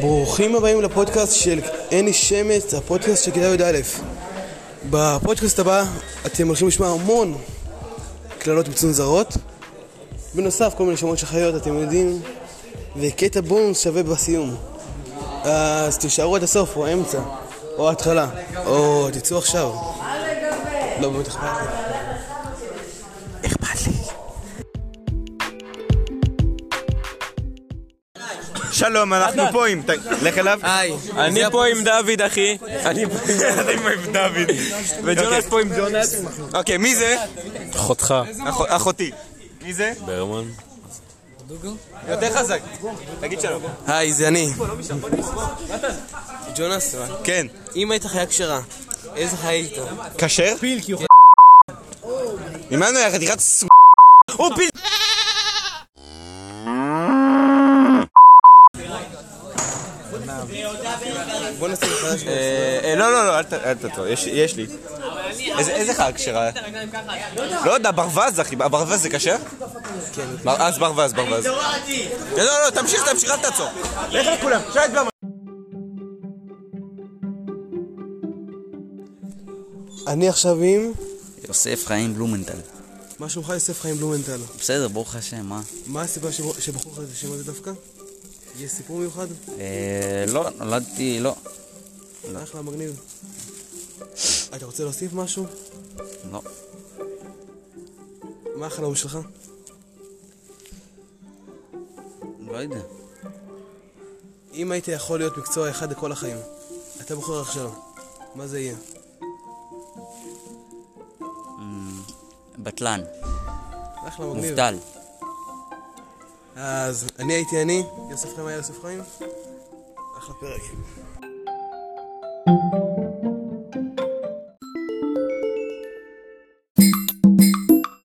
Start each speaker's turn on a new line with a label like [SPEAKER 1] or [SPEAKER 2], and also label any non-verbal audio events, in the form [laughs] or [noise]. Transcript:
[SPEAKER 1] ברוכים הבאים לפודקאסט של עיני שמץ, הפודקאסט של כיתה י"א. בפודקאסט הבא אתם הולכים לשמוע המון קללות מצונזרות. בנוסף, כל מיני שמות של חיות, אתם יודעים, וקטע בונוס שווה בסיום. אז תישארו עד הסוף, או האמצע, או ההתחלה, או תצאו עכשיו. לא, באמת אכפת לי. אכפת לי.
[SPEAKER 2] שלום, אנחנו פה עם... ת- לך אליו.
[SPEAKER 3] היי, אני פה עם דוד אחי, אני פה עם דוד.
[SPEAKER 2] אתם [laughs] עם דוד.
[SPEAKER 3] וג'ונס
[SPEAKER 2] אוקיי.
[SPEAKER 3] פה עם ג'ונס.
[SPEAKER 2] אוקיי, מי זה?
[SPEAKER 4] אחותך.
[SPEAKER 2] אח- אחותי. מי זה?
[SPEAKER 4] ברמן.
[SPEAKER 2] יותר חזק. תגיד שלום.
[SPEAKER 1] היי, זה אני. ג'ונס,
[SPEAKER 2] כן.
[SPEAKER 1] אם היית חיה כשרה, איזה חיה היית?
[SPEAKER 2] כשר? פיל, כי הוא... ממה אני הולך? חתיכת ס... הוא פיל!
[SPEAKER 1] בוא נעשה את החדש.
[SPEAKER 2] אה, אה, לא, לא, לא, אל ת- אל תעצור, יש- יש לי. איזה- איזה חג שראה? לא יודע, ברווז, אחי, ברווז זה כשר? כן. אז ברווז, ברווז. לא, לא, לא, תמשיך, תמשיך, אל תעצור. לך לכולם, שייט במה.
[SPEAKER 1] אני עכשיו עם...
[SPEAKER 5] יוסף חיים בלומנטל.
[SPEAKER 1] מה שלומך יוסף חיים בלומנטל?
[SPEAKER 5] בסדר, ברוך השם, מה?
[SPEAKER 1] מה הסיבה שבו- שבחרו לך את השם הזה דווקא? יש סיפור מיוחד?
[SPEAKER 5] אה, לא, נולדתי, לא.
[SPEAKER 1] אחלה, מגניב. אתה רוצה להוסיף משהו?
[SPEAKER 5] לא.
[SPEAKER 1] מה החלום שלך?
[SPEAKER 5] לא יודע.
[SPEAKER 1] אם היית יכול להיות מקצוע אחד לכל החיים, אתה בוחר עכשיו, מה זה יהיה?
[SPEAKER 5] בטלן,
[SPEAKER 1] אחלה, מגניב.
[SPEAKER 5] מובטל.
[SPEAKER 1] אז אני הייתי אני, יוסף חיים היה יוסף חיים. אחלה פרק.